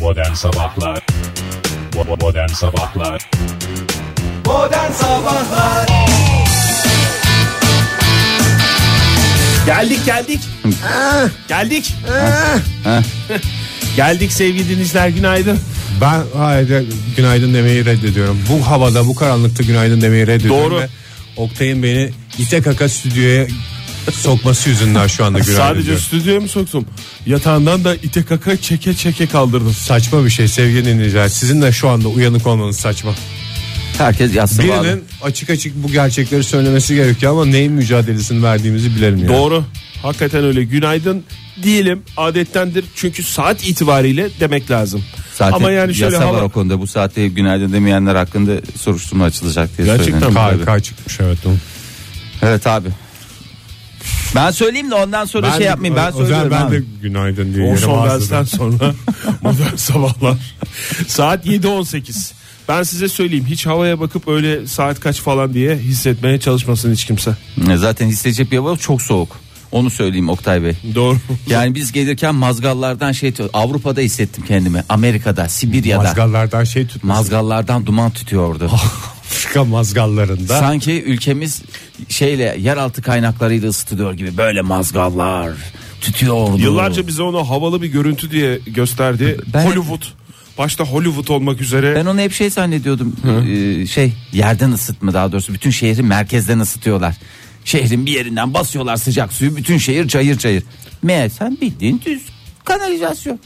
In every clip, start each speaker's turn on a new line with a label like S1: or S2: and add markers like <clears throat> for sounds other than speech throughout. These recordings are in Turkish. S1: Modern Sabahlar Bo- Modern Sabahlar
S2: Modern Sabahlar Geldik geldik. geldik. geldik sevgili dinleyiciler günaydın.
S3: Ben hayır günaydın demeyi reddediyorum. Bu havada bu karanlıkta günaydın demeyi reddediyorum.
S2: Doğru.
S3: Ve Oktay'ın beni ite kaka stüdyoya sokması yüzünden şu anda günaydın
S4: <laughs> Sadece
S3: diyorum.
S4: stüdyoya mı soktum? Yatağından da ite kaka çeke çeke kaldırdım.
S3: Saçma bir şey sevgili dinleyiciler. Sizin de şu anda uyanık olmanız saçma.
S5: Herkes yatsın abi.
S3: Birinin açık açık bu gerçekleri söylemesi gerekiyor ama neyin mücadelesini verdiğimizi bilelim yani.
S4: Doğru. Hakikaten öyle. Günaydın diyelim adettendir. Çünkü saat itibariyle demek lazım.
S5: Zaten
S4: Ama yani şöyle
S5: yasa
S4: hava-
S5: var o konuda. Bu saatte günaydın demeyenler hakkında soruşturma açılacak diye
S4: Gerçekten
S5: söyleniyor.
S4: mi?
S3: Kar,
S5: Tabii.
S3: kar çıkmış evet. Onu.
S5: Evet abi. Ben söyleyeyim de ondan sonra şey yapmayayım. Ben
S3: o zaman
S5: söylüyorum
S3: ben
S5: abi.
S3: de günaydın diye yerim
S4: Orson
S3: ağzına.
S4: Welles'ten sonra <laughs> modern sabahlar. saat 7.18. Ben size söyleyeyim hiç havaya bakıp öyle saat kaç falan diye hissetmeye çalışmasın hiç kimse.
S5: Zaten hissedecek bir hava çok soğuk. Onu söyleyeyim Oktay Bey. <laughs>
S4: Doğru.
S5: Yani biz gelirken mazgallardan şey Avrupa'da hissettim kendimi. Amerika'da, Sibirya'da.
S3: Mazgallardan şey tutmuş.
S5: Mazgallardan duman tütüyordu.
S4: <laughs>
S5: <laughs>
S3: Afrika mazgallarında.
S5: Sanki ülkemiz şeyle yeraltı kaynaklarıyla ısıtılıyor gibi böyle mazgallar tütüyordu.
S4: Yıllarca bize onu havalı bir görüntü diye gösterdi.
S5: Ben-
S4: Hollywood. Başta Hollywood olmak üzere.
S5: Ben onu hep şey zannediyordum. Ee, şey yerden ısıtma daha doğrusu bütün şehri merkezden ısıtıyorlar. Şehrin bir yerinden basıyorlar sıcak suyu bütün şehir cayır cayır. Meğer sen bildiğin düz kanalizasyon.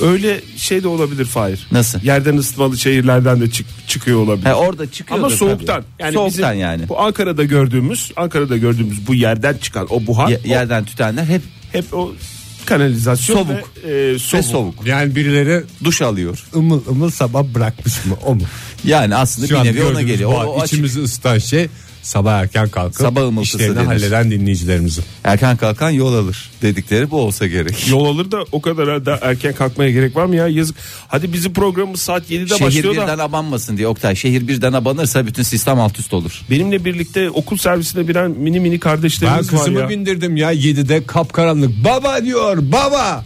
S4: Öyle şey de olabilir Fahir.
S5: Nasıl?
S4: Yerden ısıtmalı şehirlerden de çık- çıkıyor olabilir.
S5: Ha, orada çıkıyor.
S4: Ama soğuktan. Yani
S5: soğuktan
S4: bizim
S5: yani.
S4: Bu Ankara'da gördüğümüz, Ankara'da gördüğümüz bu yerden çıkan o buhar
S5: Ye- yerden tütenler hep
S4: o- hep o kanalizasyon
S5: Soğuk.
S4: ve, e,
S5: ve
S4: soğuk.
S5: soğuk.
S3: Yani birileri
S5: Duş alıyor.
S3: ımıl ımıl sabah bırakmış mı o mu?
S5: Yani aslında
S3: Şu
S5: bir
S3: an
S5: nevi ona
S3: gördüğünüz
S5: geliyor.
S3: bu
S5: O,
S3: an
S5: o açık-
S3: içimizi ısıtan şey sabah erken kalkıp
S5: Sabah ımıltısı
S3: işlerini
S5: denir.
S3: halleden dinleyicilerimizin.
S5: Erken kalkan yol alır dedikleri bu olsa gerek.
S4: Yol alır da o kadar da erken kalkmaya gerek var mı ya yazık. Hadi bizim programımız saat 7'de
S5: Şehir
S4: başlıyor da
S5: birden abanmasın diye Oktay. Şehir birden abanırsa bütün sistem alt üst olur.
S4: benimle birlikte okul servisine binen mini mini
S3: Ben
S4: kardeşlerimiz var
S3: kızımı
S4: ya.
S3: bindirdim ya 7'de kapkaranlık. Baba diyor baba.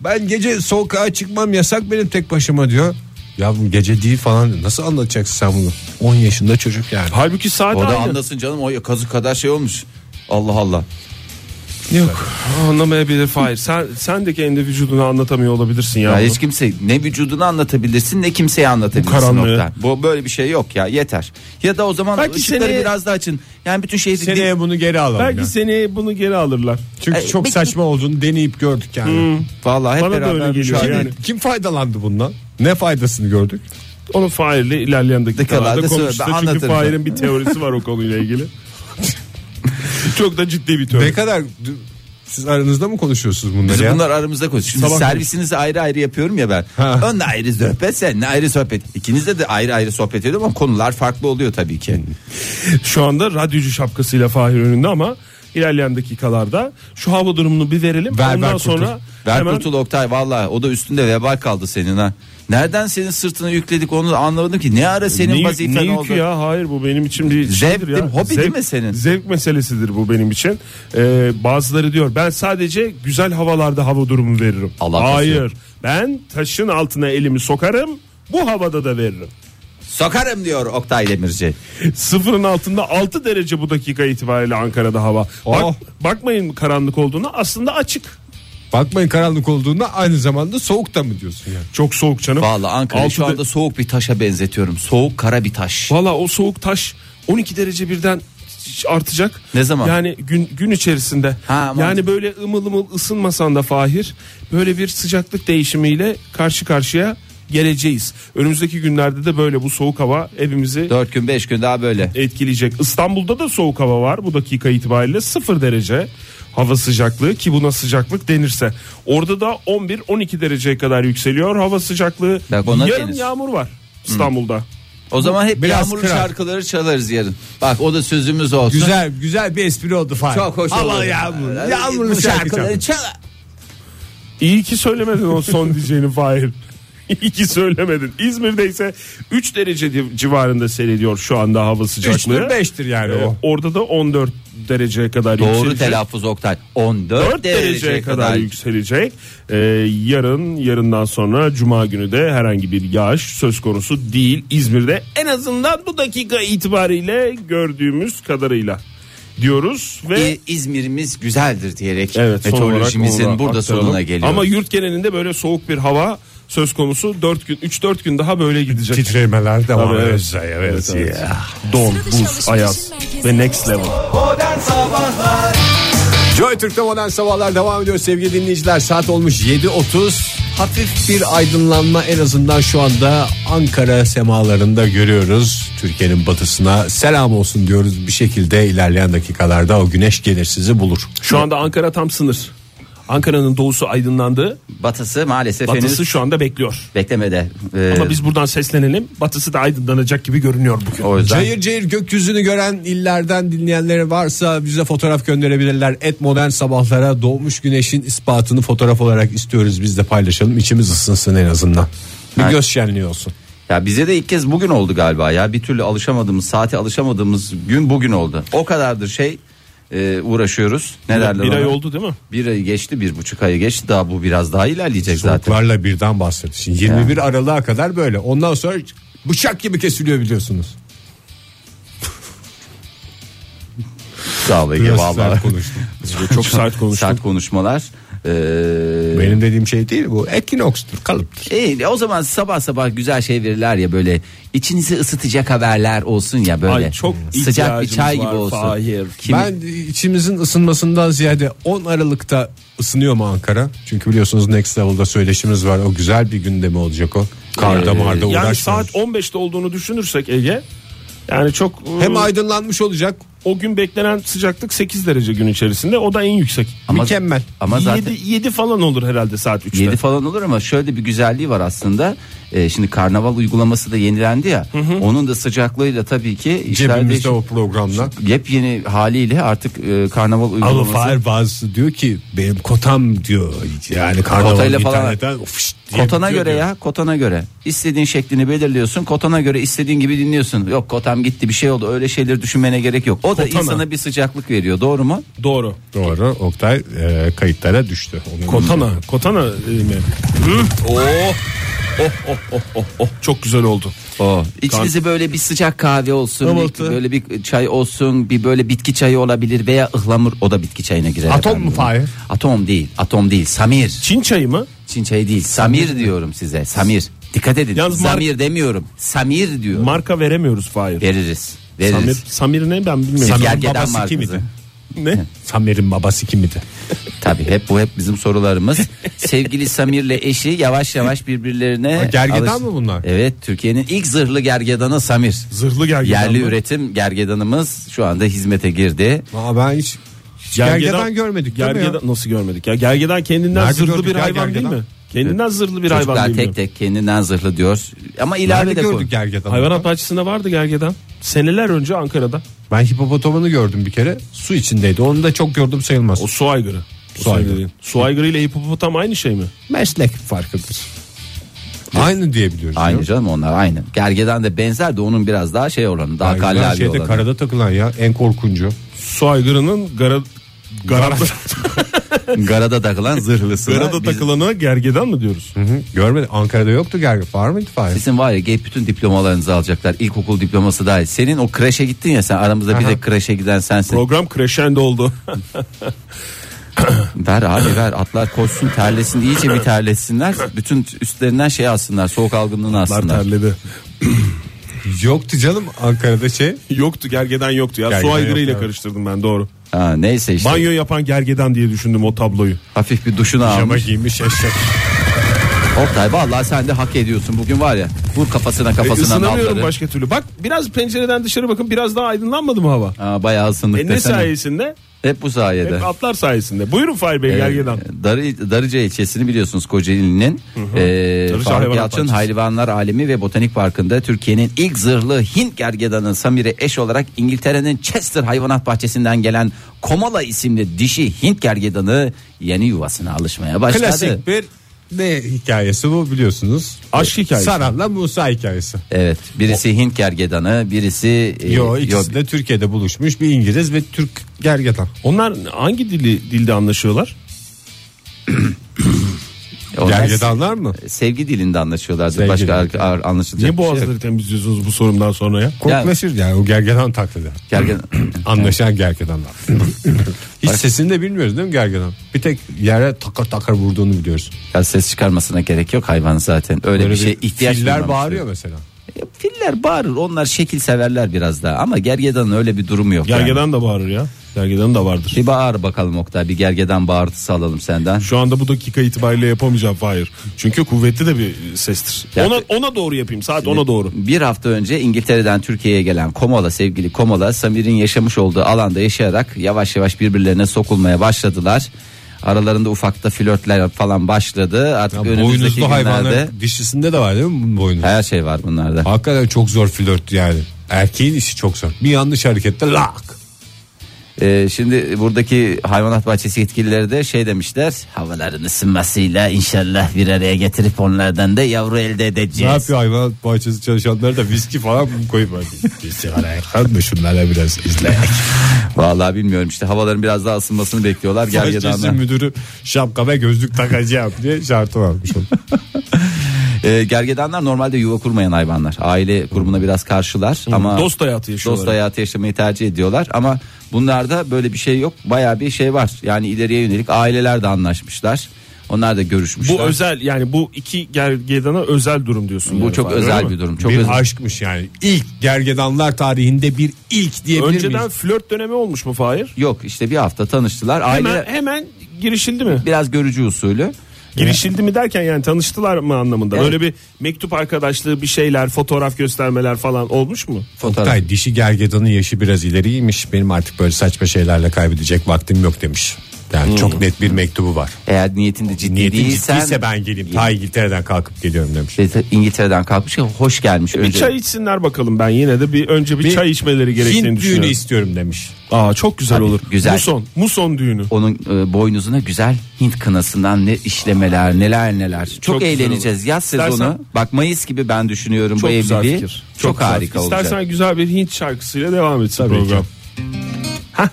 S3: Ben gece sokağa çıkmam yasak benim tek başıma diyor. Ya bu gece değil falan nasıl anlatacaksın sen bunu? 10 yaşında çocuk yani.
S4: Halbuki saat
S5: O da
S4: aynı.
S5: anlasın canım o kazık kadar şey olmuş. Allah Allah.
S4: Yok
S5: <laughs>
S4: anlamayabilir Fahir. Sen, sen de kendi vücudunu anlatamıyor olabilirsin ya.
S5: Ya
S4: bunu.
S5: hiç kimse ne vücudunu anlatabilirsin ne kimseye anlatabilirsin.
S4: Bu karanlığı.
S5: Oktay. Bu böyle bir şey yok ya yeter. Ya da o zaman
S4: Belki
S5: ışıkları
S4: seneye-
S5: biraz daha açın. Yani bütün şehri
S3: Seneye bunu geri alalım.
S4: Belki
S3: ya.
S4: seneye bunu geri alırlar.
S3: Çünkü
S5: E,
S3: çok
S5: bir-
S3: saçma olduğunu deneyip gördük yani.
S5: vallahi hep
S4: Bana da
S5: beraber
S4: öyle
S5: bir
S4: geliyor
S5: şey-
S4: yani.
S3: Kim faydalandı bundan? Ne faydasını gördük?
S4: Onu Fahir'le ilerleyen dakikalarda
S5: Dakikalarda sonra
S4: konuşacağız.
S5: ben
S4: Çünkü
S5: anlatırım.
S4: Fahir'in bir teorisi var o konuyla
S5: <laughs>
S4: ilgili. Çok da ciddi bir teori.
S3: Ne kadar siz aranızda mı konuşuyorsunuz bunları
S5: Biz
S3: ya?
S5: bunlar aramızda konuş. Şimdi
S3: Sabah
S5: servisinizi ayrı ayrı yapıyorum ya ben.
S3: Ha.
S5: Önle ayrı sohbet, senle ayrı sohbet. İkinizde de ayrı ayrı sohbet ediyorum ama konular farklı oluyor tabii ki.
S4: Şu anda radyocu şapkasıyla Fahir önünde ama ilerleyen dakikalarda şu hava durumunu bir verelim.
S3: Ver, ver
S4: Ondan
S3: kurtul.
S4: sonra
S5: Ver
S4: hemen
S5: kurtul Oktay valla o da üstünde vebal kaldı senin ha. Nereden senin sırtını yükledik onu da anlamadım ki. Ne ara senin
S4: ne,
S5: vazifen
S4: ne yükü
S5: oldu?
S4: ya hayır bu benim için bir şeydir
S5: Zevktir,
S4: ya.
S5: hobi değil mi senin?
S4: Zevk meselesidir bu benim için. Ee, bazıları diyor ben sadece güzel havalarda hava durumu veririm.
S5: Alakası
S4: hayır
S5: yok.
S4: ben taşın altına elimi sokarım bu havada da veririm.
S5: Sokarım diyor Oktay Demirci.
S4: Sıfırın altında 6 derece bu dakika itibariyle Ankara'da hava. Bak,
S3: Oh.
S4: Bakmayın karanlık olduğuna aslında açık.
S3: Bakmayın karanlık olduğunda aynı zamanda soğuk da mı diyorsun yani?
S4: Çok soğuk canım.
S5: Valla Ankara'yı
S4: Altı
S5: şu
S4: de-
S5: anda soğuk bir taşa benzetiyorum. Soğuk kara bir taş.
S4: Valla o soğuk taş 12 derece birden artacak.
S5: Ne zaman?
S4: Yani gün gün içerisinde.
S5: Ha, aman.
S4: yani böyle ımıl ımıl ısınmasan da Fahir böyle bir sıcaklık değişimiyle karşı karşıya geleceğiz. Önümüzdeki günlerde de böyle bu soğuk hava evimizi
S5: 4 gün 5 gün daha böyle.
S4: etkileyecek. İstanbul'da da soğuk hava var bu dakika itibariyle 0 derece hava sıcaklığı ki buna sıcaklık denirse. Orada da 11-12 dereceye kadar yükseliyor hava sıcaklığı.
S5: Bak ona
S4: Yarın
S5: deniz.
S4: yağmur var İstanbul'da.
S5: O zaman hep
S3: Biraz
S5: yağmurlu
S3: kral.
S5: şarkıları çalarız yarın. Bak o da sözümüz olsun.
S3: Güzel güzel bir espri oldu falan.
S5: Çok hoş
S3: Hava
S5: olur.
S3: yağmur.
S5: Ee,
S3: Yağmurlu
S5: bu
S3: şarkı.
S5: şarkıları
S3: çalın.
S5: çal. <laughs>
S4: İyi ki söylemedin o son diyeceğini Fahir. İyi ki söylemedin. İzmir'de ise 3 derece civ- civarında seyrediyor şu anda hava sıcaklığı.
S3: Üçtür, beştir yani Oh.
S4: Ee,
S3: o.
S4: Orada da 14 dereceye kadar
S5: Doğru
S4: yükselecek.
S5: telaffuz Oktay. 14
S4: 4 dereceye kadar
S5: yük-
S4: yükselecek. Ee, yarın, yarından sonra Cuma günü de herhangi bir yağış söz konusu değil İzmir'de. En azından bu dakika itibariyle gördüğümüz kadarıyla diyoruz ve...
S5: İ- İzmir'imiz güzeldir diyerek
S4: Evet, son olarak onu
S5: meteorolojimizin
S4: da
S5: burada
S4: aktaralım.
S5: sonuna geliyor.
S4: Ama yurt genelinde böyle soğuk bir hava söz konusu 4 gün 3-4 gün daha böyle gidecek.
S3: Titremeler devam
S4: Tabii,
S3: ediyor.
S4: evet.
S3: Evet,
S4: Evet,
S3: evet.
S4: evet. Don, buz, ayaz ve next level.
S2: Modern Sabahlar
S3: Joy Türk'te modern sabahlar devam ediyor sevgili dinleyiciler. Saat olmuş 7.30. Hafif bir aydınlanma en azından şu anda Ankara semalarında görüyoruz. Türkiye'nin batısına selam olsun diyoruz. Bir şekilde ilerleyen dakikalarda o güneş gelir sizi bulur.
S4: Şu anda Ankara tam sınır. Ankara'nın doğusu aydınlandı.
S5: batısı maalesef
S4: Batısı
S5: henüz
S4: şu anda bekliyor.
S5: beklemede. Ee,
S4: Ama biz buradan seslenelim. Batısı da aydınlanacak gibi görünüyor bugün.
S5: o yüzden
S3: Cayır cayır gökyüzünü gören illerden dinleyenleri varsa bize fotoğraf gönderebilirler. Et modern sabahlara doğmuş güneşin ispatını fotoğraf olarak istiyoruz. Biz de paylaşalım. İçimiz ısınsın en azından. Bir
S5: Evet.
S3: göz şenliği olsun.
S5: ya bize de ilk kez bugün oldu galiba ya. Bir türlü alışamadığımız, saate alışamadığımız gün bugün oldu. O kadardır şey e, uğraşıyoruz. Ne derler
S4: Bir
S5: ona?
S4: ay oldu değil mi?
S5: Bir ayı geçti, bir buçuk ayı geçti. Daha bu biraz daha ilerleyecek zaten.
S3: Soğuklarla birden bahsediyor. Şimdi 21 Aralık'a kadar böyle. Ondan sonra bıçak gibi kesiliyor biliyorsunuz.
S5: Sağ ol Ege, vallahi.
S3: konuştum.
S4: Çok sert
S5: <laughs>
S4: konuştuk.
S5: Sert konuşmalar. Ee,
S3: Benim dediğim şey değil bu. Ekinokstur, kalıptır.
S5: İyi, o zaman sabah sabah güzel şey verirler ya böyle içinizi ısıtacak haberler olsun ya böyle.
S4: Ay, çok
S5: sıcak bir çay gibi
S4: ihtiyacımız
S5: olsun.
S4: var, Fahir.
S5: Kimi-
S3: Ben içimizin ısınmasından ziyade 10 Aralık'ta ısınıyor mu Ankara? Çünkü biliyorsunuz Next Level'da söyleşimiz var. O güzel bir gündemi olacak o. Karda
S5: Ee,
S3: marda
S4: Yani
S3: uğraşmıyoruz.
S4: saat 15'te olduğunu düşünürsek Ege yani çok
S3: Hem
S4: e,
S3: aydınlanmış olacak.
S4: o gün beklenen sıcaklık 8 derece gün içerisinde o da en yüksek.
S5: Ama-
S3: mükemmel.
S5: Ama zaten
S4: 7, 7 falan olur herhalde saat 3'te.
S5: 7 falan olur ama şöyle bir güzelliği var aslında. Ee, şimdi karnaval uygulaması da yenilendi ya. Onun da sıcaklığıyla tabii ki işler
S3: Cebimizde
S5: değişiyor.
S3: o programla.
S5: Yepyeni haliyle artık e, karnaval
S3: Ama
S5: uygulaması.
S3: Fahir bazı diyor ki benim kotam diyor. Yani karnaval
S5: Kotayla falan-
S3: internetten fışt diye
S5: Kotana
S3: bitiyor
S5: göre
S3: diyor.
S5: ya kotana göre istediğin şeklini belirliyorsun kotana göre istediğin gibi dinliyorsun yok kotam gitti bir şey oldu öyle şeyleri düşünmene gerek yok o da
S4: Kotana.
S5: insana bir sıcaklık veriyor doğru mu
S4: Doğru.
S3: Doğru. Oktay e, kayıtlara düştü. Onun-
S4: Kotana. Kotana e, mi? Hı? Oh. Oh, oh, oh, oh, oh. Çok güzel oldu.
S5: O. İçinize böyle bir sıcak kahve olsun,
S3: Kahvaltı.
S5: bir- böyle bir çay olsun, bir böyle bitki çayı olabilir veya ıhlamur o da bitki çayına girer.
S3: Atom
S5: efendim.
S3: mu Fahir?
S5: Atom değil, atom değil. Samir.
S4: Çin çayı mı?
S5: Çin çayı değil. Samir, diyorum size. Samir. Dikkat edin.
S4: Yalnız mar-
S5: Samir demiyorum. Samir diyorum.
S4: Marka veremiyoruz Fahir.
S5: veririz.
S4: Samir,
S5: Veririz.
S4: Samir ne ben bilmiyorum.
S5: Samir.
S4: Samir.
S5: Gergedan
S3: babası
S5: markası.
S3: kimdi?
S4: Ne?
S3: Samer'in babası kimdi?
S5: Tabii hep bu hep bizim sorularımız. Sevgili Samir'le eşi yavaş yavaş birbirlerine
S3: Ha, gergedan
S5: alışsın.
S3: mı bunlar?
S5: Evet, Türkiye'nin ilk zırhlı gergedanı Samir.
S4: Zırhlı gergedan
S5: Yerli
S4: mı?
S5: üretim gergedanımız şu anda hizmete girdi.
S3: Aa, ben hiç hiç gergedan, görmedik değil mi ya?
S4: gergedan, Nasıl görmedik ya? Gergedan kendinden
S3: Nerede
S4: zırhlı
S3: gördük
S4: bir
S3: ya
S4: hayvan
S3: gergedan?
S4: değil mi? Kendinden zırhlı bir hayvan
S5: Çocuklar
S4: değil
S5: tek
S4: mi?
S5: tek kendinden zırhlı diyor. Ama
S3: Nerede
S5: ileride de koy.
S3: gördük gergedanı?
S4: Hayvanat bahçesinde vardı gergedan. Seneler önce Ankara'da.
S3: Ben hipopotamını gördüm bir kere. Su içindeydi. Onu da çok gördüm sayılmaz.
S4: O su aygırı. O
S3: Su aygırı.
S4: söylediğin. Su aygırı ile hipopotam aynı şey mi?
S3: meslek farkıdır. Aynı diyebiliyoruz.
S5: Aynı
S3: ya.
S5: canım onlar aynı. Gergedan da benzer de onun biraz daha şey olanı daha
S3: Gergedan
S5: kallavi
S3: şeyde
S5: olanı.
S3: karada takılan ya en korkuncu.
S4: Su aygırının gara, garada,
S5: <laughs> Garada takılan zırhlısına.
S4: <laughs> garada
S5: biz-
S4: takılana gergedan mı diyoruz?
S3: Hı hı. Görmedim. Ankara'da yoktu gergi. Var mıydı Fahir?
S5: Sizin var ya gay bütün diplomalarınızı alacaklar. İlkokul diploması dahil. Senin o kreşe gittin ya sen aramızda bir de kreşe giden sensin.
S4: Program crescendo oldu.
S5: ver abi ver atlar koşsun terlesin iyice bir
S3: <laughs>
S5: terletsinler. Bütün üstlerinden şey alsınlar soğuk algınlığını alsınlar.
S4: terledi.
S3: Yoktu canım Ankara'da şey.
S4: Yoktu gergedan yoktu ya.
S3: Gergedan
S4: su aygırı
S3: yoktu,
S4: ile
S3: evet.
S4: karıştırdım ben doğru.
S5: Ha, neyse işte
S4: Banyo yapan gergedan diye düşündüm o tabloyu.
S5: hafif bir duşunu
S3: Pijama
S5: almış.
S3: giymiş eşek.
S5: Oktay vallahi sen de hak ediyorsun bugün var ya vur kafasına
S3: E,
S5: kafasına
S4: Isınamıyorum
S5: nalları.
S4: başka türlü. Bak biraz pencereden dışarı bakın biraz daha aydınlanmadı mı hava?
S5: Aa, bayağı ısındık
S4: E ne
S5: desene.
S4: sayesinde?
S5: Hep bu sayede.
S4: Hep atlar sayesinde. Buyurun Fahir
S5: Ee,
S4: Bey gergedan.
S5: Darı, Darıca ilçesini biliyorsunuz Kocaeli'nin e,
S4: Darıca
S5: Faruk
S4: Hayvanat
S5: Yalçın
S4: Bahçesi.
S5: Hayvanlar Alemi ve Botanik Parkı'nda Türkiye'nin ilk zırhlı Hint gergedanı Samir'e eş olarak İngiltere'nin Chester Hayvanat Bahçesi'nden gelen Komala isimli dişi Hint gergedanı yeni yuvasına alışmaya başladı.
S3: Klasik bir ne hikayesi bu biliyorsunuz.
S4: Aşk hikayesi.
S3: Saran'la Musa hikayesi.
S5: Evet birisi Hint gergedanı birisi e,
S3: Yo
S5: yo,
S3: ikisi de Türkiye'de buluşmuş bir İngiliz ve Türk gergedan.
S4: Onlar hangi dili dilde anlaşıyorlar?
S5: onlar
S3: Gergedanlar mı?
S5: se- sevgi dilinde anlaşıyorlardı
S3: Sevgi
S5: başka ar-
S3: dilinde.
S5: ar- anlaşılacak
S4: Niye
S5: bir şey yok.
S4: boğazları temizliyorsunuz bu sorumdan sonra ya?
S3: Korklaşır yani o gergedan taklidi.
S5: Gergedan
S3: Anlaşan gergedanlar. Hiç sesini de bilmiyoruz değil mi gergedan? Bir tek yere takar takar vurduğunu biliyoruz.
S5: Ya ses çıkarmasına gerek yok hayvan zaten öyle
S3: Böyle
S5: bir şey ihtiyaç
S3: Filler
S5: duymamış.
S3: bağırıyor mesela.
S5: Ya, filler bağırır onlar şekil severler biraz daha ama gergedanın öyle bir durumu yok yani.
S4: Gergedan da bağırır ya. Gergedan da vardır.
S5: Bir bağır bakalım Oktay bir gergedan bağırtısı alalım senden.
S4: Şu anda bu dakika itibariyle yapamayacağım Fahir. Çünkü kuvvetli de bir sestir.
S5: Ya-
S4: Ona ona doğru yapayım. Saat ona doğru.
S5: Bir hafta önce İngiltere'den Türkiye'ye gelen Komola sevgili Komola Samir'in yaşamış olduğu alanda yaşayarak yavaş yavaş birbirlerine sokulmaya başladılar. Aralarında ufakta flörtler falan başladı. Artık
S3: Ya
S5: önümüzdeki
S3: boynuzlu
S5: günlerde
S3: hayvanların dişisinde de var değil mi bunun boynuzu?
S5: her şey var bunlarda.
S3: Hakikaten çok zor flört yani. Erkeğin işi çok zor. Bir yanlış harekette lak.
S5: Ee, şimdi buradaki hayvanat bahçesi yetkilileri de şey demişler. Havaların ısınmasıyla inşallah bir araya getirip onlardan da yavru elde
S3: Ne
S5: edeceğiz.
S3: yapıyor hayvan bahçesi çalışanları da viski falan mı koyup <laughs> Kan da şunlara biraz izle.
S5: Vallahi bilmiyorum işte havaların biraz daha ısınmasını bekliyorlar.
S3: Bahçesi
S5: Gergedanlar.
S3: müdürü şapka ve gözlük takacağım diye şartı varmış. onun.
S5: Ee, gergedanlar normalde yuva kurmayan hayvanlar. Aile kurumuna biraz karşılar ama
S4: Dost hayatı yaşıyorlar.
S5: dost hayatı yaşamayı tercih ediyorlar ama bunlarda böyle bir şey yok. Bayağı bir şey var. Yani ileriye yönelik aileler de anlaşmışlar. Onlar da görüşmüşler. Bu,
S4: Bu özel yani bu iki gergedana özel durum diyorsun. yani
S5: çok
S4: Fahir, öyle
S5: özel
S4: mi?
S5: bir durum. Çok
S3: bir
S5: özel.
S3: aşkmış yani. İlk gergedanlar tarihinde bir ilk diyebilir
S4: Önceden
S3: miyiz?
S4: flört dönemi olmuş mu Fahir?
S5: Yok işte bir hafta tanıştılar. Aile
S4: Hemen hemen girişildi mi?
S5: biraz görücü usulü.
S4: Girişildi mi derken yani tanıştılar mı anlamında.
S5: Evet.
S4: Böyle bir mektup arkadaşlığı bir şeyler, fotoğraf göstermeler falan olmuş mu?
S5: Fotoğraf.
S3: Oktay dişi gergedanın yaşı biraz ileriymiş. Benim artık böyle saçma şeylerle kaybedecek vaktim yok demiş. Yani çok net bir mektubu var.
S5: Eğer niyetinde ciddi
S3: Niyetin
S5: değilsen
S3: ciddiyse ben geleyim. Ta İngiltere'den kalkıp geliyorum demiş.
S5: İşte İngiltere'den kalkmış ya, hoş gelmiş
S4: Bir
S5: önce.
S4: çay içsinler bakalım ben yine de bir önce bir,
S3: Bir
S4: çay içmeleri gerektiğini
S3: Hint düğünü
S4: düşünüyorum.
S3: istiyorum demiş.
S4: Aa çok güzel
S5: Tabii,
S4: olur.
S5: güzel.
S4: Muson, muson düğünü.
S5: Onun e, boynuzuna güzel Hint kınasından ne işlemeler neler neler. Çok,
S4: Çok güzel
S5: eğleneceğiz
S4: olur.
S5: yaz sezonu.
S4: İstersen-
S5: Bak Mayıs gibi ben düşünüyorum bu
S4: Çok güzel
S5: evliliği.
S4: fikir.
S5: Çok,
S4: güzel
S5: harika
S4: fikir.
S5: olacak.
S4: İstersen güzel bir Hint şarkısıyla devam etsin
S3: Tabii
S4: program.
S3: ki.
S4: Hah.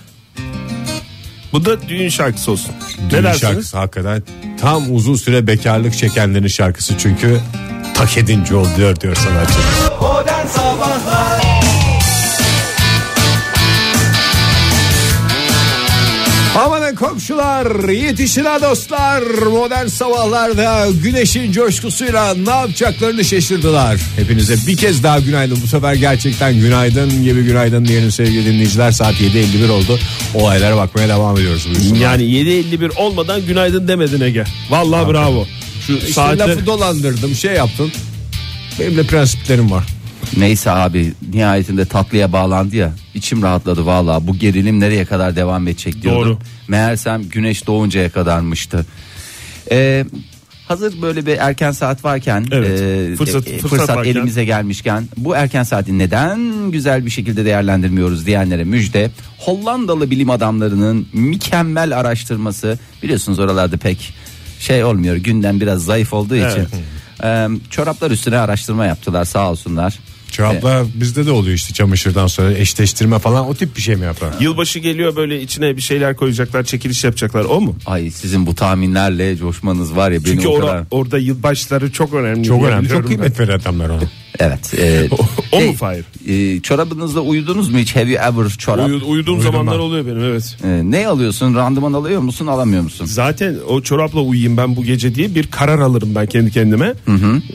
S4: Bu da düğün şarkısı olsun.
S3: Düğün
S4: ne dersiniz?
S3: şarkısı hakikaten tam uzun süre bekarlık çekenlerin şarkısı çünkü tak edince oluyor diyor sanatçı.
S2: Modern Sabahlar
S3: Amanın komşular yetişin ha dostlar modern sabahlarda güneşin coşkusuyla ne yapacaklarını şaşırdılar. Hepinize bir kez daha günaydın bu sefer gerçekten günaydın gibi günaydın diyelim sevgili dinleyiciler saat 7.51 oldu olaylara bakmaya devam ediyoruz. Buyursunlar.
S4: Yani 7.51 olmadan günaydın demedin Ege. Vallahi bravo. Şu
S3: İşte
S4: saatler...
S3: lafı dolandırdım şey yaptım benim de prensiplerim var.
S5: Neyse abi nihayetinde tatlıya bağlandı ya. İçim rahatladı valla. Bu gerilim nereye kadar devam edecek diyordum.
S4: Doğru.
S5: Meğersem güneş doğuncaya kadarmıştı. Ee, hazır böyle bir erken saat varken,
S4: Evet.
S5: e,
S4: Fırsat-
S5: e,
S4: fırsat
S5: fırsat
S4: varken.
S5: elimize gelmişken bu erken saati neden güzel bir şekilde değerlendirmiyoruz diyenlere müjde. Hollandalı bilim adamlarının mükemmel araştırması biliyorsunuz oralarda pek şey olmuyor. Günden biraz zayıf olduğu için. Ee, çoraplar üstüne araştırma yaptılar sağ olsunlar.
S3: Çoraplar bizde de oluyor işte çamaşırdan sonra eşleştirme falan o tip bir şey mi yapar?
S4: Yılbaşı geliyor böyle içine bir şeyler koyacaklar, çekiliş yapacaklar. O mu?
S5: Ay sizin bu tahminlerle coşmanız var ya
S4: Çünkü
S5: beni o
S4: ora-
S5: kadar...
S4: orada yılbaşları çok önemli.
S3: Çok
S4: diye
S3: önemli.
S4: biliyorum
S3: Çok
S4: ben.
S3: kıymet veren adamlar ona.
S5: Evet. e,
S4: <laughs> o mu
S5: şey,
S4: Fahir?
S5: e, çorabınızla uyudunuz mu hiç? Have you ever çorap?
S4: Uyu- uyuduğum
S3: Uyudum
S4: zamanlar
S3: ben.
S4: oluyor benim evet.
S5: E, ne alıyorsun? Randıman alıyor musun? Alamıyor musun?
S4: Zaten o çorapla uyuyayım ben bu gece diye bir karar alırım ben kendi kendime.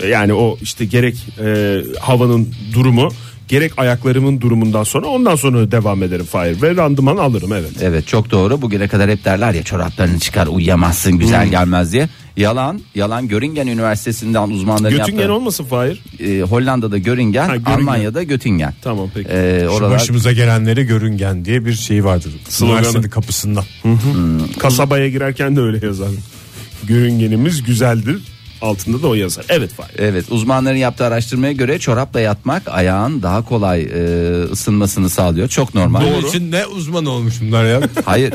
S4: Yani o işte gerek e, havanın durumu gerek ayaklarımın durumundan sonra ondan sonra devam ederim Fahir ve randıman alırım evet.
S5: Evet çok doğru. Bugüne kadar hep derler ya çoraplarını çıkar uyuyamazsın
S4: Hmm.
S5: güzel gelmez diye. Yalan. Yalan Göringen Üniversitesi'nden uzmanların
S4: Götüngen
S5: yaptığı.
S4: olmasın Fahir.
S5: e, Hollanda'da Göringen,
S4: Ha, Göttingen.
S5: Almanya'da Göttingen.
S4: Tamam peki.
S5: E,
S3: Şu
S5: oralar
S3: başımıza gelenlere görüngen diye bir şey vardır.
S4: Sloganı.
S3: Üniversitenin kapısında.
S4: Kasabaya girerken de öyle yazarım. Görüngenimiz güzeldir. Altında da o yazar. Evet Fahir.
S5: Evet uzmanların yaptığı araştırmaya göre çorapla yatmak ayağın daha kolay e, ısınmasını sağlıyor. Çok normal.
S3: <laughs>
S4: <laughs>
S3: Bunun için ne uzman olmuş bunlar ya.
S5: Hayır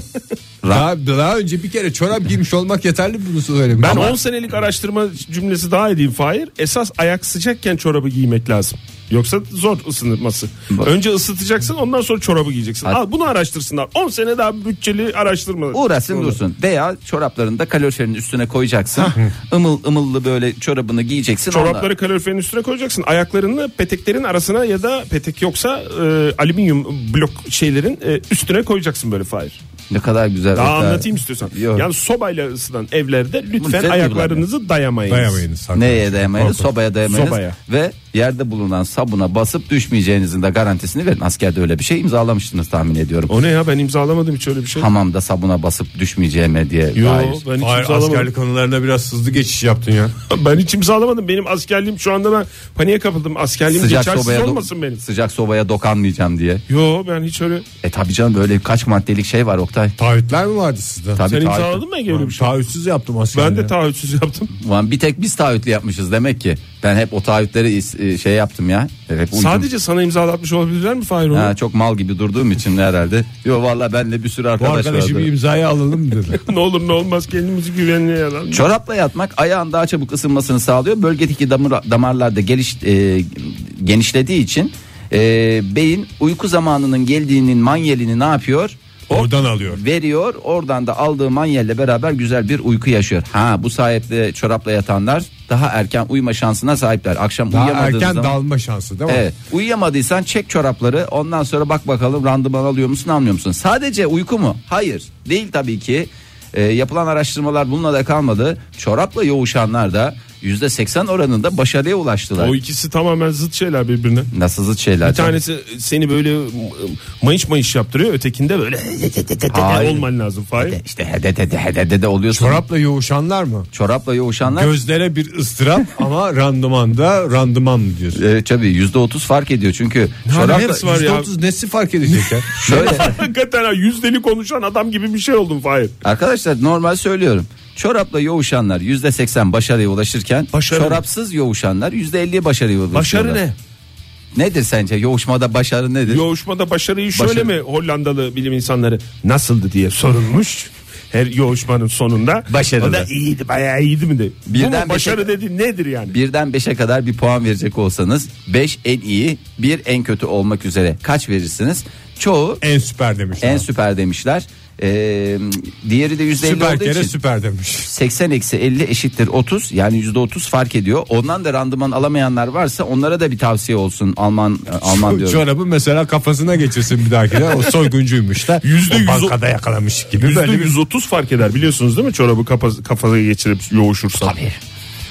S3: Daha, daha önce bir kere çorap giymiş olmak yeterli bunu söylemek.
S4: Ben 10 senelik araştırma cümlesi daha edeyim Fahir. Esas ayak sıcakken çorabı giymek lazım. Yoksa zor ısınması. Önce ısıtacaksın ondan sonra çorabı giyeceksin.
S5: Hadi.
S4: Al bunu araştırsınlar. 10 sene daha bütçeli araştırma.
S5: Uğraşsın dursun. Veya çoraplarını da kaloriferin üstüne koyacaksın. Imıl ımıllı böyle çorabını giyeceksin. Onunla-
S4: Çorapları kaloriferin üstüne koyacaksın. Ayaklarını peteklerin arasına ya da petek yoksa e, alüminyum blok şeylerin e, üstüne koyacaksın böyle Fahir.
S5: Ne kadar güzel.
S4: Daha
S5: o kadar-
S4: anlatayım istiyorsan.
S5: Yok.
S4: Yani sobayla ısınan evlerde lütfen
S5: sen
S4: ayaklarınızı dayamayın.
S3: Dayamayınız.
S5: Neye dayamayınız? Sobaya dayamayınız.
S4: Sobaya.
S5: Ve yerde bulunan sabuna basıp düşmeyeceğinizin de garantisini verin. Askerde öyle bir şey imzalamıştınız tahmin ediyorum.
S4: O ne ya ben imzalamadım hiç öyle bir şey.
S5: Hamamda sabuna basıp düşmeyeceğime diye.
S4: Yo,
S5: dair.
S4: ben hiç
S3: Hayır,
S4: imzalamadım.
S3: askerlik konularına biraz hızlı geçiş yaptın ya.
S4: Ben hiç imzalamadım. Benim askerliğim şu anda ben paniğe kapıldım. Askerliğim
S5: Sıcak
S4: geçersiz
S5: sobaya, do-
S4: olmasın benim.
S5: sıcak sobaya dokanmayacağım diye.
S4: Yo ben hiç öyle.
S5: E tabi canım böyle kaç maddelik şey var Oktay.
S3: Taahhütler mi vardı sizde?
S5: Tabii
S4: Sen
S5: taahhüt-
S4: imzaladın mı Ege öyle bir şey?
S3: Taahhütsüz yaptım askerliği.
S4: Ben de taahhütsüz yaptım.
S5: Ulan bir tek biz taahhütlü yapmışız demek ki. Ben hep o taahhütleri is- e, şey yaptım ya. Hep uydum.
S4: Sadece sana imzalatmış olabilirler mi Fahir onu?
S5: Ha, çok mal gibi durduğum için herhalde. Yo valla benle bir sürü
S3: Bu
S5: arkadaş
S3: arkadaşı
S5: vardı.
S3: bir imzaya alalım dedi.
S4: ne olur ne olmaz kendimizi güvenliğe alalım.
S5: Çorapla yatmak ayağın daha çabuk ısınmasını sağlıyor. Bölgedeki damar, damarlarda geliş, e, genişlediği için e, beyin uyku zamanının geldiğinin manyelini ne yapıyor?
S3: Oradan alıyor.
S5: Veriyor. Oradan da aldığı manyelle beraber güzel bir uyku yaşıyor. Ha bu sayede çorapla yatanlar daha erken uyuma şansına sahipler. Akşam
S3: Daha
S5: uyuyamadığın
S3: erken
S5: zaman...
S3: dalma şansı değil mi?
S5: Evet. Uyuyamadıysan çek çorapları. Ondan sonra bak bakalım randıman alıyor musun almıyor musun? Sadece uyku mu? Hayır. Değil tabii ki. Ee, yapılan araştırmalar bununla da kalmadı. Çorapla yoğuşanlar da %80 oranında başarıya ulaştılar.
S4: O ikisi tamamen zıt şeyler birbirine.
S5: Nasıl zıt şeyler?
S4: Bir tanesi seni böyle ıı, mayış mayış yaptırıyor. Ötekinde böyle <laughs>
S5: Hayır.
S4: olman lazım Fahir.
S5: İşte hedede de hedede de oluyorsun.
S3: Çorapla yoğuşanlar mı?
S5: Çorapla yoğuşanlar
S3: Gözlere bir ıstırap ama randımanda randıman mı diyorsun?
S5: e, tabii %30 fark ediyor. Çünkü çorapla...
S4: neresi var ya?
S3: %30 nesi fark edecek ya?
S5: Şöyle,
S4: Hakikaten ha, yüzdeli konuşan adam gibi bir şey oldum Fahir.
S5: Arkadaşlar normal söylüyorum. Çorapla yoğuşanlar %80 başarıya ulaşırken
S4: Başarı.
S5: çorapsız yoğuşanlar %50 başarıya ulaşıyorlar.
S4: Başarı ne?
S5: Nedir sence yoğuşmada başarı nedir?
S4: Yoğuşmada başarıyı şöyle
S5: Başarı.
S4: mi Hollandalı bilim insanları nasıldı diye sorulmuş. Her yoğuşmanın sonunda
S5: Başarılı.
S4: O da iyiydi bayağı iyiydi mi de.
S5: Birden şey-
S4: Bu mu
S5: beşe-
S4: başarı dedi nedir yani?
S5: Birden 5'e kadar bir puan verecek olsanız 5 en iyi, 1 en kötü olmak üzere kaç verirsiniz? Çoğu
S3: <laughs> en süper demiş.
S5: en
S3: En
S5: süper demişler. Ee, diğeri de %50
S3: süper
S5: olduğu
S3: kere
S5: için
S3: süper demiş.
S5: 80 eksi 50 eşittir 30 yani %30 fark ediyor. Ondan da randıman alamayanlar varsa onlara da bir tavsiye olsun. Alman e, Alman diyorum.
S3: Çorabı mesela kafasına geçirsin bir dahakine. O soyguncuymuş da.
S4: Yüzde
S3: o
S4: yüz o-
S3: Bankada yakalamış gibi.
S4: Yüzde
S3: Böyle bir
S4: 130 fark eder biliyorsunuz değil mi? Çorabı kafa, kafaya geçirip yoğuşursan.
S5: Tabii.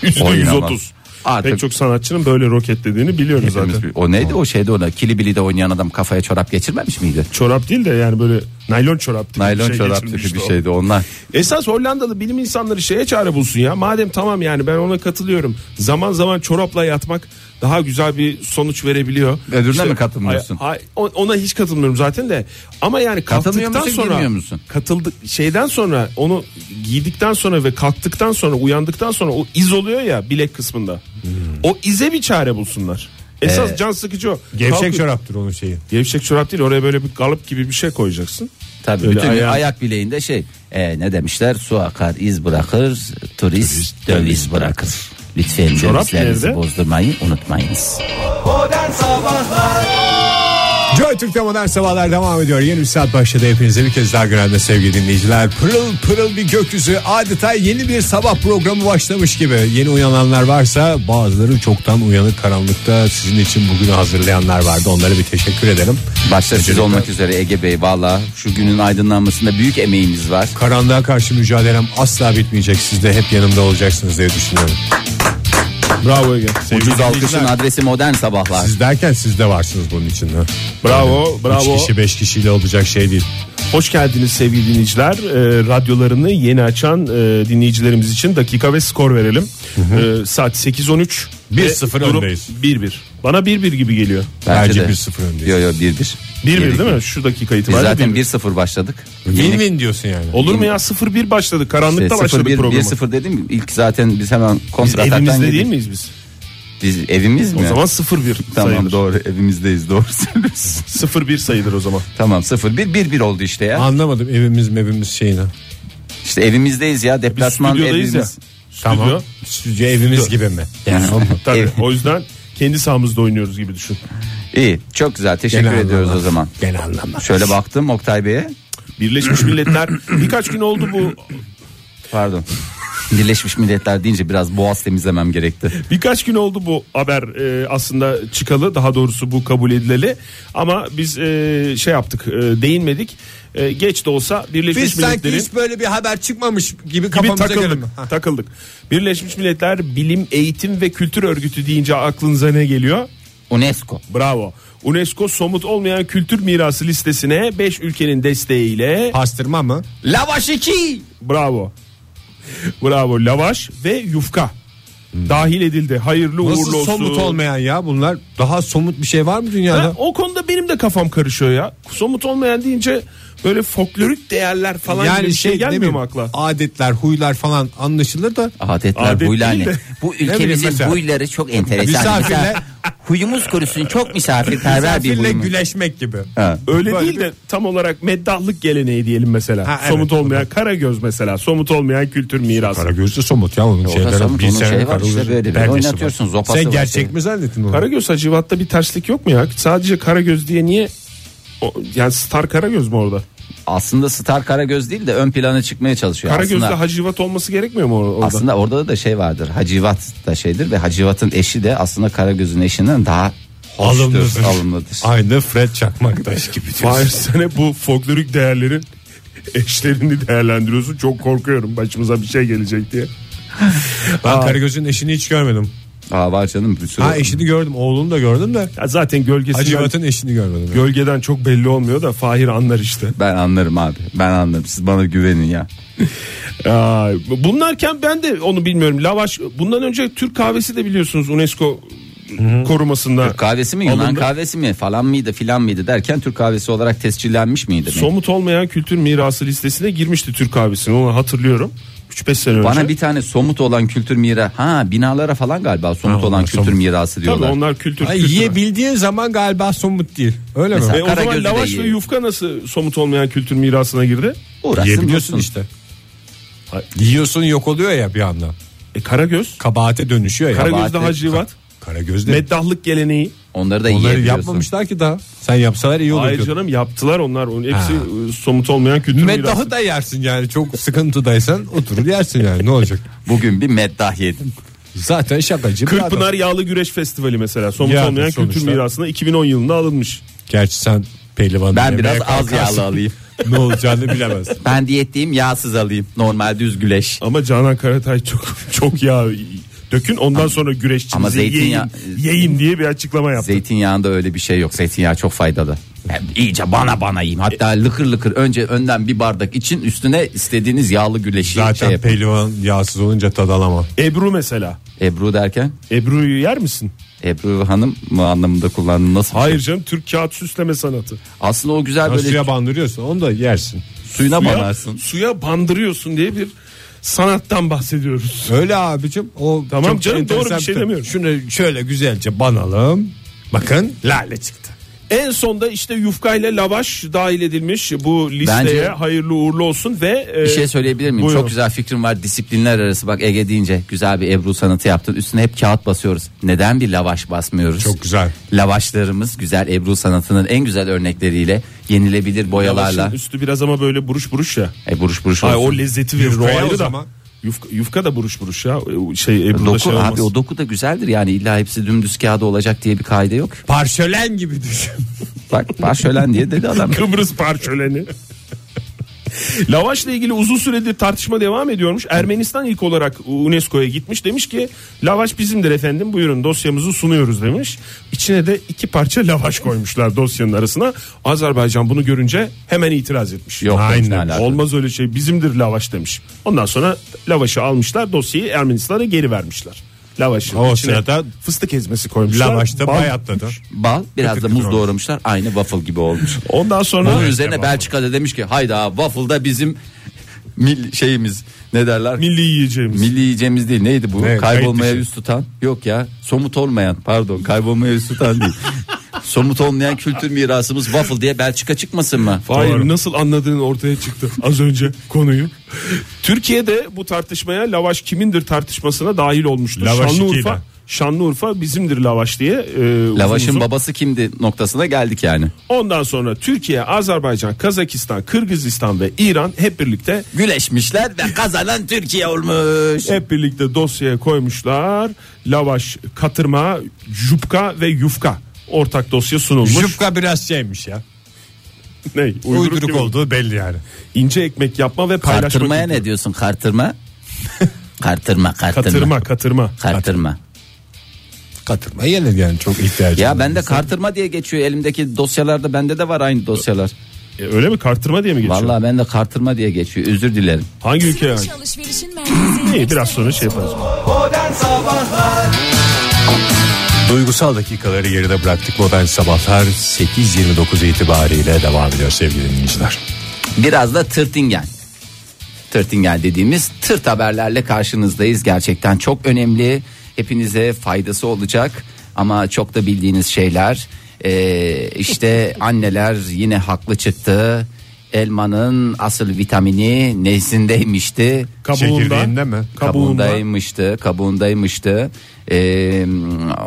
S4: Yüzde
S5: Oynamaz.
S4: 130.
S5: Artık-
S4: Pek çok sanatçının böyle roketlediğini biliyoruz
S5: Hepimiz
S4: zaten.
S5: bir- O neydi o şeyde ona kilibili de oynayan adam kafaya çorap geçirmemiş miydi?
S4: Çorap değil de yani böyle naylon çorap tipi
S5: Naylon
S4: bir şey
S5: çorap
S4: geçirmişti
S5: tipi bir
S4: o.
S5: şeydi onlar.
S4: Esas Hollandalı bilim insanları şeye çare bulsun ya. Madem tamam yani ben ona katılıyorum. Zaman zaman çorapla yatmak daha güzel bir sonuç verebiliyor.
S5: Öbürüne mi katılmıyorsun?
S4: Ay- ay- o- ona hiç katılmıyorum zaten de. Ama yani
S5: Katılmıyor
S4: kalktıktan
S5: musun,
S4: sonra
S5: girmiyor musun?
S4: katıldık şeyden sonra onu giydikten sonra ve kalktıktan sonra uyandıktan sonra o iz oluyor ya bilek kısmında.
S5: Hmm.
S4: O ize bir çare bulsunlar. Esas
S5: Ee,
S4: can sıkıcı o.
S3: gevşek
S4: Kalkıp-
S3: çoraptır onun şeyi.
S4: Gevşek çorap değil oraya böyle bir kalıp gibi bir şey koyacaksın.
S5: Tabii
S4: Öyle
S5: bütün
S4: ayağı-
S5: ayak bileğinde şey e, ne demişler su akar iz bırakır turist döviz bırakır. Lütfen dövizlerinizi
S4: nerede?
S5: bozdurmayı unutmayınız.
S2: Modern Sabahlar
S3: Joy Türk'te modern sabahlar devam ediyor. Yeni bir saat başladı. Hepinize bir kez daha günaydın sevgili dinleyiciler. Pırıl pırıl bir gökyüzü adeta yeni bir sabah programı başlamış gibi. Yeni uyananlar varsa bazıları çoktan uyanık karanlıkta sizin için bugünü hazırlayanlar vardı. Onlara bir teşekkür edelim.
S5: Başta siz
S3: Öncelikle
S5: olmak üzere Ege Bey valla şu günün aydınlanmasında büyük emeğiniz var.
S3: Karanlığa karşı mücadelem asla bitmeyecek. Siz de hep yanımda olacaksınız diye düşünüyorum.
S4: Bravo Ege.
S5: Ucuz alkışın
S3: dinleyiciler.
S5: adresi modern sabahlar.
S3: Siz derken siz de varsınız bunun içinde.
S4: Bravo, bravo.
S3: 3 kişi 5 kişiyle olacak şey değil.
S4: Hoş geldiniz sevgili dinleyiciler. Ee, radyolarını yeni açan e, dinleyicilerimiz için dakika ve skor verelim. Ee, saat 8.13.
S3: 1-0
S4: Ve durum
S3: öndeyiz.
S4: 1-1. Bana 1-1 gibi geliyor.
S3: Bence
S5: de.
S3: 1-0 öndeyiz.
S5: Yo yo 1-1.
S4: 1-1 değil mi? Şu dakika
S5: Biz
S4: itibariyle.
S5: E, zaten
S4: 1-1.
S5: 1-0 başladık. Yeni- e,
S3: Win-win diyorsun yani.
S4: Olur mu ya 0-1 başladık. Karanlıkta
S5: İşte
S4: başladık
S5: 0-1,
S4: programı.
S5: 1-0 dedim ilk zaten biz hemen
S4: Biz
S5: kontra ataktan
S4: evimizde
S5: yedik.
S4: değil miyiz biz?
S5: Biz evimiz mi?
S4: O zaman 01
S5: Tamam
S4: sayılır.
S5: doğru evimizdeyiz doğru <laughs> söylüyorsun.
S4: 01 sayılır o zaman.
S5: tamam 0 1 1 1 oldu işte ya.
S3: Anlamadım evimiz mevimiz şeyine.
S5: İşte evimizdeyiz ya deplasman
S4: Stüdyodayız
S5: evimiz.
S4: ya. Stüdyo.
S3: Tamam. Stüdyo evimiz gibi mi?
S5: Yani
S4: <laughs> Tabii.
S5: ev-
S4: O yüzden kendi sahamızda oynuyoruz gibi düşün.
S5: İyi çok güzel teşekkür
S3: Genel
S5: ediyoruz
S3: anlamda.
S5: o zaman.
S3: Genel anlamda.
S5: Şöyle baktım Oktay Bey'e
S4: Birleşmiş
S5: <clears throat>
S4: Milletler birkaç gün oldu bu. <laughs>
S5: pardon. Birleşmiş Milletler deyince biraz boğaz temizlemem gerekti.
S4: Birkaç gün oldu bu haber e, aslında çıkalı. Daha doğrusu bu kabul edileli. Ama biz e, şey yaptık, e, değinmedik. E, geç de olsa Birleşmiş
S3: Biz sanki
S4: Milletler'in
S3: hiç böyle bir haber çıkmamış gibi
S4: gibi
S3: kafamıza göre
S4: takıldık.
S3: mi? Ha.
S4: Takıldık. Birleşmiş Milletler Bilim, Eğitim ve Kültür Örgütü deyince aklınıza ne geliyor?
S5: UNESCO.
S4: Bravo. UNESCO somut olmayan kültür mirası listesine 5 ülkenin desteğiyle
S3: Pastırma mı?
S5: Lavaş 2.
S4: bravo. Bravo. Lavaş ve yufka dahil edildi. Hayırlı
S3: Nasıl
S4: uğurlu olsun.
S3: somut olmayan ya bunlar? Daha somut bir şey var mı
S4: Ha,
S3: dünyada?
S4: o konuda benim de kafam karışıyor ya. Somut olmayan deyince böyle folklorik değerler falan gibi bir şey,
S3: ne
S4: gelmiyor
S3: bileyim,
S4: mu akla?
S3: Adetler, huylar falan anlaşılır da
S5: Ah, Adetler
S4: Adet
S5: huylar
S4: değil
S5: ne?
S4: de-
S5: Bu
S3: bileyim
S5: ülkemizin
S3: mesela.
S5: huyları çok enteresan.
S3: Misafirle-
S5: Misafir- Huyumuz kurusun çok misafirperver bir
S3: misafirle
S5: huyumuz.
S3: güleşmek gibi.
S5: Ha.
S4: Öyle
S3: Böyle
S4: değil de tam olarak meddahlık geleneği diyelim mesela.
S3: Ha, evet.
S4: somut olmayan Karagöz mesela. Somut olmayan kültür mirası.
S3: Karagöz'de somut ya onun şeyleri.
S5: somut,
S3: bir
S5: onun
S3: sene
S5: şeyi var işte
S3: Karagöz'ün
S5: böyle bir
S3: perdesi var.
S5: oynatıyorsun, zopası
S3: Sen
S5: var,
S3: gerçek
S5: şey.
S3: mi zannettin onu?
S4: Karagöz Hacivat'ta bir terslik yok mu ya? Sadece Karagöz diye niye o- yani Star Karagöz mü orada?
S5: Aslında Star Karagöz değil de ön plana çıkmaya çalışıyor.
S4: Karagöz'de
S5: aslında,
S4: Hacivat olması gerekmiyor mu or- orada?
S5: aslında orada da şey vardır. Hacivat da şeydir ve Hacivat'ın eşi de aslında Karagöz'ün eşinden daha hoştur,
S3: Alımlıdır.
S5: alımlıdır.
S3: Aynı Fred Çakmaktaş gibi diyorsun.
S4: Fahir sen hep bu folklorik değerlerin <laughs> eşlerini değerlendiriyorsun. Çok korkuyorum başımıza bir şey gelecek diye.
S3: Ben Karagöz'ün eşini hiç görmedim.
S5: Aa var canım bir sürü.
S3: Ha eşini gördüm, oğlunu da gördüm de
S4: Ya zaten gölgesinden
S3: Hacivat'ın eşini görmedim.
S4: gölgeden çok belli olmuyor da Fahir anlar işte.
S5: Ben anlarım abi. Ben anlarım. Siz bana güvenin ya.
S4: Aa, bunlarken ben de onu bilmiyorum. Lavaş bundan önce Türk kahvesi de biliyorsunuz UNESCO korumasında.
S5: Türk kahvesi mi Yunan
S4: Alındı.
S5: kahvesi mi falan mıydı filan mıydı derken Türk kahvesi olarak tescillenmiş miydi?
S4: Somut olmayan kültür mirası listesine girmişti Türk kahvesini onu hatırlıyorum. 3-5 sene önce.
S5: Bana bir tane somut olan kültür mira ha binalara falan galiba somut olan kültür mirası
S4: Tabii
S5: diyorlar.
S4: onlar kültür.
S3: Ay,
S4: kültür.
S3: yiyebildiğin zaman galiba somut değil. Öyle
S5: Mesela-
S3: mi?
S4: Ve o zaman
S5: Karagöz'ü de
S4: lavaş ve
S5: yiyelim.
S4: yufka nasıl somut olmayan kültür mirasına girdi?
S5: Uğraşsın
S3: Yiyebiliyorsun
S5: dursun.
S3: işte. Yiyorsun yok oluyor ya bir anda.
S4: E, Karagöz.
S3: Kabahate dönüşüyor ya.
S4: Karagöz'de
S5: Kabahati-
S4: Hacivat.
S3: Karagöz'de.
S4: Meddahlık geleneği.
S5: Onları da
S3: Onları
S5: yiyebiliyorsun.
S3: yapmamışlar ki daha. Sen yapsalar iyi
S4: Hayır
S3: olur.
S4: canım yaptılar onlar. Onun hepsi
S3: Ha.
S4: e, somut olmayan kültür mirası.
S3: Meddahı da yersin yani çok sıkıntıdaysan oturur yersin yani ne olacak?
S5: Bugün bir meddah yedim.
S3: Zaten şakacı bir adam.
S4: Kırkpınar Yağlı Güreş Festivali mesela somut
S3: Yani
S4: olmayan kültür
S3: sonuçta.
S4: mirasına 2010 yılında alınmış.
S3: Gerçi sen pehlivanı
S5: Ben
S3: yemeye
S5: biraz az
S3: kalkarsın.
S5: yağlı alayım.
S3: <laughs> ne olacağını
S5: <laughs>
S3: bilemez.
S5: Ben diyetteyim yağsız alayım. Normal düz güleş.
S4: Ama Canan Karatay çok çok yağ dökün ondan sonra
S5: Ama
S4: güreşçimize
S5: zeytinyağı-
S4: yiyeyim, yiyeyim diye bir açıklama yaptı.
S5: Zeytinyağında öyle bir şey yok. Zeytinyağı çok faydalı. Ben iyice bana bana yiyeyim. Hatta lıkır lıkır önce önden bir bardak için üstüne istediğiniz yağlı güleşi şey
S3: Zaten
S5: yapın.
S3: pehlivan yağsız olunca tad alamam.
S4: Ebru mesela.
S5: Ebru derken
S4: Ebru'yu yer misin?
S5: Ebru Hanım mı anlamında kullandın nasıl? bir şey?
S4: Hayır canım Türk kağıt süsleme sanatı.
S5: Aslında o güzel böyle
S3: Suya bandırıyorsun onu da yersin.
S5: suyuna
S4: Suya-
S5: banarsın.
S4: Suya bandırıyorsun diye bir sanattan bahsediyoruz.
S3: Öyle abicim. O
S4: Tamam
S3: çok
S4: canım, doğru bir
S3: enteresan
S4: şey
S3: tat.
S4: demiyorum.
S3: Şunu şöyle güzelce banalım. Bakın lale çıktı.
S4: En sonda işte yufka ile lavaş dahil edilmiş bu listeye
S5: Bence-
S4: hayırlı uğurlu olsun ve e,
S5: Bir şey söyleyebilir miyim?
S4: Buyurun.
S5: Çok güzel fikrim var disiplinler arası. Bak Ege deyince güzel bir Ebru sanatı yaptın. Üstüne hep kağıt basıyoruz. Neden bir lavaş basmıyoruz?
S3: Çok güzel.
S5: Lavaşlarımız güzel Ebru sanatının en güzel örnekleriyle yenilebilir boyalarla.
S4: lavaşın üstü biraz ama böyle buruş buruş ya.
S5: E, buruş buruş
S4: Ay
S5: olsun.
S4: o lezzeti verir o
S3: Yufkaya
S4: ayrı
S3: o
S4: da.
S3: zaman.
S4: Yufka, yufka da buruş buruş ya. Şey Ebru'da
S5: doku
S4: şey olmaz.
S5: abi o doku da güzeldir yani illa hepsi dümdüz kağıda olacak diye bir kaide yok.
S3: Parşölen gibi düşün.
S5: Bak parşölen diye dedi adam.
S4: Kıbrıs parçöleni. <laughs> Lavaşla ilgili uzun süredir tartışma devam ediyormuş. Ermenistan ilk olarak UNESCO'ya gitmiş. Demiş ki lavaş bizimdir efendim buyurun dosyamızı sunuyoruz demiş. İçine de iki parça lavaş koymuşlar dosyanın arasına. Azerbaycan bunu görünce hemen itiraz etmiş.
S5: Yok,
S4: Aynen.
S5: ne alaka?
S4: Olmaz öyle şey bizimdir lavaş demiş. Ondan sonra lavaşı almışlar dosyayı Ermenistan'a geri vermişler. Lavaşın
S3: O
S4: içine
S3: sırada
S4: fıstık ezmesi koymuşlar.
S3: Lavaş da
S4: Bal-
S3: bayatladı.
S5: Bal biraz da muz doğramışlar aynı waffle gibi olmuş.
S4: Ondan sonra
S5: Bunun üzerine Belçika'da demiş ki hayda waffle da bizim mil şeyimiz ne derler?
S4: Milli yiyeceğimiz.
S5: Milli yiyeceğimiz değil neydi bu?
S3: Ne,
S5: Kaybolmaya
S3: kayıt dışı.
S5: yüz tutan. Yok ya somut olmayan pardon kaybolmaya yüz tutan değil. somut olmayan kültür mirasımız waffle diye Belçika çıkmasın mı?
S4: Hayır
S3: Doğru.
S4: nasıl anladığın ortaya çıktı <laughs> az önce konuyu. Türkiye'de bu tartışmaya lavaş kimindir tartışmasına dahil olmuştu.
S3: Lavaş ikiyle.
S4: Şanlıurfa, Şanlıurfa bizimdir lavaş diye. e, uzun
S5: Lavaşın
S4: uzun.
S5: babası kimdi noktasına geldik yani.
S4: Ondan sonra Türkiye, Azerbaycan, Kazakistan, Kırgızistan ve İran hep birlikte
S5: Güleşmişler ve kazanan Türkiye olmuş.
S4: hep birlikte dosyaya koymuşlar. Lavaş, katırma, jupka ve yufka ortak dosya sunulmuş.
S3: Jupka biraz şeymiş ya.
S4: ne?
S3: Uyduruk,
S4: gibi.
S3: olduğu belli yani.
S4: İnce ekmek yapma ve paylaşma.
S5: Kartırmaya
S4: kültürü.
S5: ne diyorsun <laughs> kartırma? kartırma kartırma.
S4: Katırma, katırma.
S5: Kartırma.
S3: Katırma yenir yani çok ihtiyacı.
S5: Ya bende kartırma diye geçiyor elimdeki dosyalarda bende de var aynı dosyalar.
S4: E, öyle mi? Kartırma diye mi geçiyor?
S5: Vallahi bende kartırma diye geçiyor özür dilerim.
S4: Hangi ülke yani?
S6: Alışverişin alışverişin merkezi.
S4: İyi biraz sonra şey yaparız.
S2: Modern Sabahlar
S3: Duygusal dakikaları geride bıraktık. Modern Sabahlar 8.29 itibariyle devam ediyor sevgili dinleyiciler.
S5: Biraz da tırtingen. Tırtingen dediğimiz tırt haberlerle karşınızdayız. Gerçekten çok önemli. Hepinize faydası olacak. Ama çok da bildiğiniz şeyler. Ee, işte anneler yine haklı çıktı. Elmanın asıl vitamini nesindeymişti?
S3: Çekirdeğinde mi?
S4: Kabuğunda.
S5: Kabuğundaymıştı. Kabuğundaymıştı. Ee,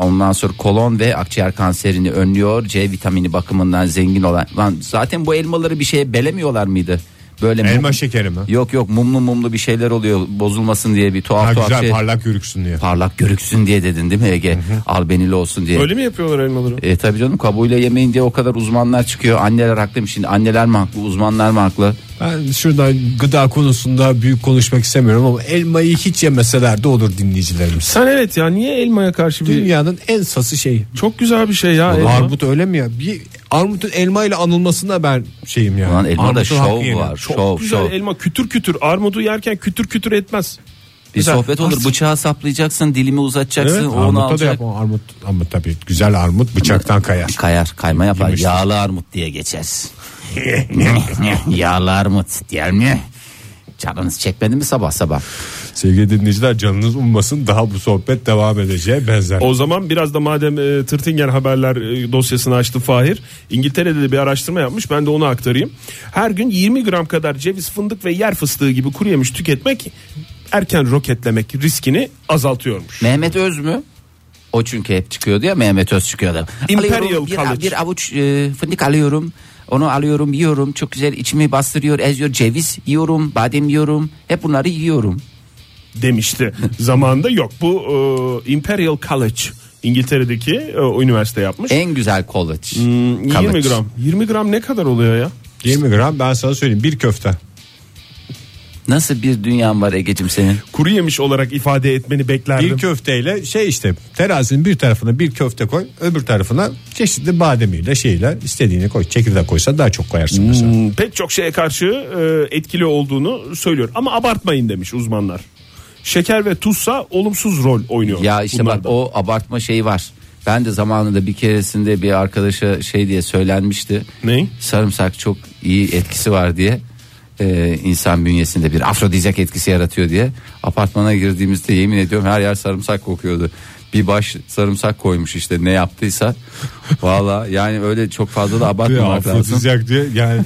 S5: ondan sonra kolon ve akciğer kanserini önlüyor. C vitamini bakımından zengin olan. Lan zaten bu elmaları bir şeye belemiyorlar mıydı? Böyle mum-
S3: Elma şekeri mi?
S5: Yok yok mumlu mumlu bir şeyler oluyor bozulmasın diye bir tuhaf
S3: Ha,
S5: tuhaf
S3: güzel
S5: şey.
S3: parlak yürüksün diye.
S5: parlak görüksün diye dedin değil mi Ege? Albenili olsun diye.
S4: Öyle mi yapıyorlar elmaları?
S5: E tabii canım kabuğuyla yemeyin diye o kadar uzmanlar çıkıyor. Anneler haklı mı şimdi? Anneler mi haklı? Uzmanlar mı haklı?
S3: Ben şuradan gıda konusunda büyük konuşmak istemiyorum ama elmayı hiç yemeseler de olur dinleyicilerimiz.
S4: Sen evet ya niye elmaya karşı bir...
S3: Dünyanın en sası şeyi.
S4: Çok güzel bir şey ya. elma.
S3: Armut öyle mi ya? Bir armutun elma ile anılmasına ben şeyim yani.
S5: Ulan elmada
S3: Armutun
S5: şov
S3: hakkı yenir.
S5: var.
S4: Çok
S5: şov,
S4: güzel
S5: şov.
S4: elma kütür kütür. Armudu yerken kütür kütür etmez.
S5: Bir sohbet olur. Bıçağı saplayacaksın, dilimi uzatacaksın,
S3: Evet,
S5: onu
S3: armutta da
S5: alacak.
S3: yapma. Armut, ama tabii güzel armut bıçaktan kayar.
S5: Kayar, kayma yapar.
S3: Yemiştir.
S5: Yağlı armut diye
S3: <laughs>
S5: geçer. Yağlı armut diğer mi? Canınız çekmedi mi sabah sabah?
S3: Sevgili dinleyiciler canınız ummasın daha bu sohbet devam edeceğe benzer.
S4: O zaman biraz da madem e, Tırtingen haberler e, dosyasını açtı Fahir. İngiltere'de de bir araştırma yapmış. Ben de onu aktarayım. Her gün 20 gram kadar ceviz, fındık ve yer fıstığı gibi kuru yemiş tüketmek erken roketlemek riskini azaltıyormuş.
S5: Mehmet Öz mü? O çünkü hep çıkıyordu ya Mehmet Öz
S3: <laughs>
S5: çıkıyordu.
S4: Imperial
S5: Alıyorum bir,
S4: College.
S5: bir avuç e, fındık alıyorum. Onu alıyorum yiyorum. Çok güzel içimi bastırıyor eziyor. Ceviz yiyorum. Badem yiyorum. Hep bunları yiyorum.
S4: demişti. Zamanında yok. Bu e, Imperial College İngiltere'deki e, o üniversite yapmış.
S5: En güzel kolaç.
S3: Hmm,
S4: 20 gram. 20 gram ne kadar oluyor ya?
S3: 20 gram ben sana söyleyeyim bir köfte.
S5: Nasıl bir dünyan var Ege'cim senin?
S4: Kuru yemiş olarak ifade etmeni beklerdim.
S3: Bir köfteyle şey işte terazinin bir tarafına bir köfte koy öbür tarafına çeşitli bademiyle şeyle istediğini koy. Çekirdek koysa daha çok koyarsın mesela.
S4: Hmm, Pek çok şeye karşı e, etkili olduğunu söylüyor. Ama abartmayın demiş uzmanlar. Şeker ve tuzsa olumsuz rol oynuyor.
S5: Ya işte
S4: bunlarda.
S5: bak o abartma şeyi var. Ben de zamanında bir keresinde bir arkadaşa şey diye söylenmişti.
S4: Ne?
S5: Sarımsak çok iyi etkisi var diye. Ee, insan bünyesinde bir afrodizyak etkisi yaratıyor diye. Apartmana girdiğimizde yemin ediyorum her yer sarımsak kokuyordu. Bir baş sarımsak koymuş işte ne yaptıysa. Valla yani öyle çok fazla da
S3: Ya,
S5: abartmamak lazım.
S3: afrodizyak diye yani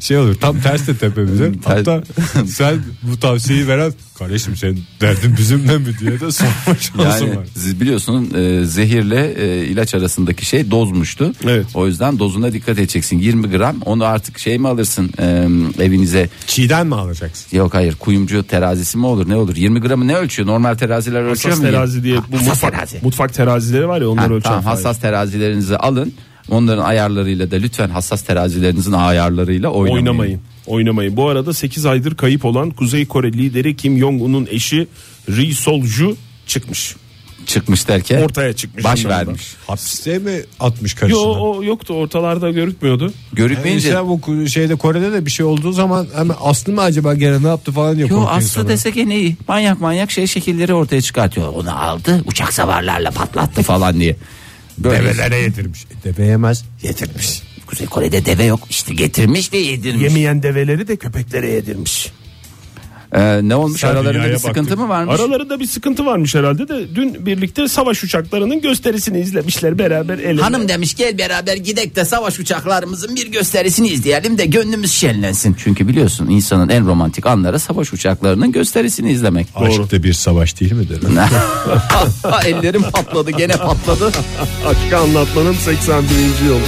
S3: şey olur tam ters de tepemize. Hatta sen bu tavsiyeyi veren kardeşim senin derdin bizimle mi diye de sorma şansın
S5: Yani
S3: var.
S5: siz biliyorsun e, zehirle e, ilaç arasındaki şey dozmuştu.
S4: Evet.
S5: O yüzden dozuna dikkat edeceksin. 20 gram onu artık şey mi alırsın e, evinize?
S3: Çiğden mi alacaksın?
S5: Yok hayır kuyumcu terazisi mi olur ne olur? 20 gramı ne ölçüyor? Normal teraziler ölçüyor
S4: hassas
S5: mu?
S4: terazi diye
S5: Ha,
S4: bu
S5: hassas
S4: mutfak,
S5: terazi.
S4: mutfak terazileri var ya
S5: Ha,
S4: onları ölçen.
S5: tamam,
S4: fayda.
S5: hassas terazilerinizi alın. Onların ayarlarıyla da lütfen hassas terazilerinizin ayarlarıyla oynamayın.
S4: Oynamayın. Oynamayın. Bu arada 8 aydır kayıp olan Kuzey Kore lideri Kim Jong-un'un eşi Ri Sol-ju çıkmış.
S5: Çıkmış derken
S4: Ortaya çıkmış.
S5: baş
S4: onlardan.
S5: vermiş.
S3: Hapiste mi atmış karısını?
S4: Yo o yoktu ortalarda görükmüyordu.
S5: Görükmeyince
S3: Mesela bu ku- şeyde Kore'de de bir şey olduğu zaman hemen Aslı mı acaba gene ne yaptı falan diyor.
S5: Yo
S3: korkuyor
S5: Aslı
S3: insanlar.
S5: dese gene iyi. Manyak manyak şey şekilleri ortaya çıkartıyor. Onu aldı uçak savarlarla patlattı falan diye. Böyle
S3: Develere yedirmiş. E, Deve yemez yedirmiş.
S5: Kuzey Kore'de deve yok. İşte getirmiş ve yedirmiş.
S4: Yemeyen develeri de köpeklere yedirmiş.
S5: Ee, ne olmuş
S3: Sen
S5: aralarında bir
S3: dünyaya
S5: sıkıntı
S3: baktın.
S5: mı varmış?
S4: Aralarında bir sıkıntı varmış herhalde de dün birlikte savaş uçaklarının gösterisini izlemişler beraber el ele.
S5: Hanım demiş gel beraber gidek de savaş uçaklarımızın bir gösterisini izleyelim de gönlümüz şenlensin. Çünkü biliyorsun insanın en romantik anları savaş uçaklarının gösterisini izlemek. <laughs>
S3: Aşk da bir savaş değil midir?
S5: Ellerim patladı gene patladı.
S4: Aşkı anlatmanın 81. yılı.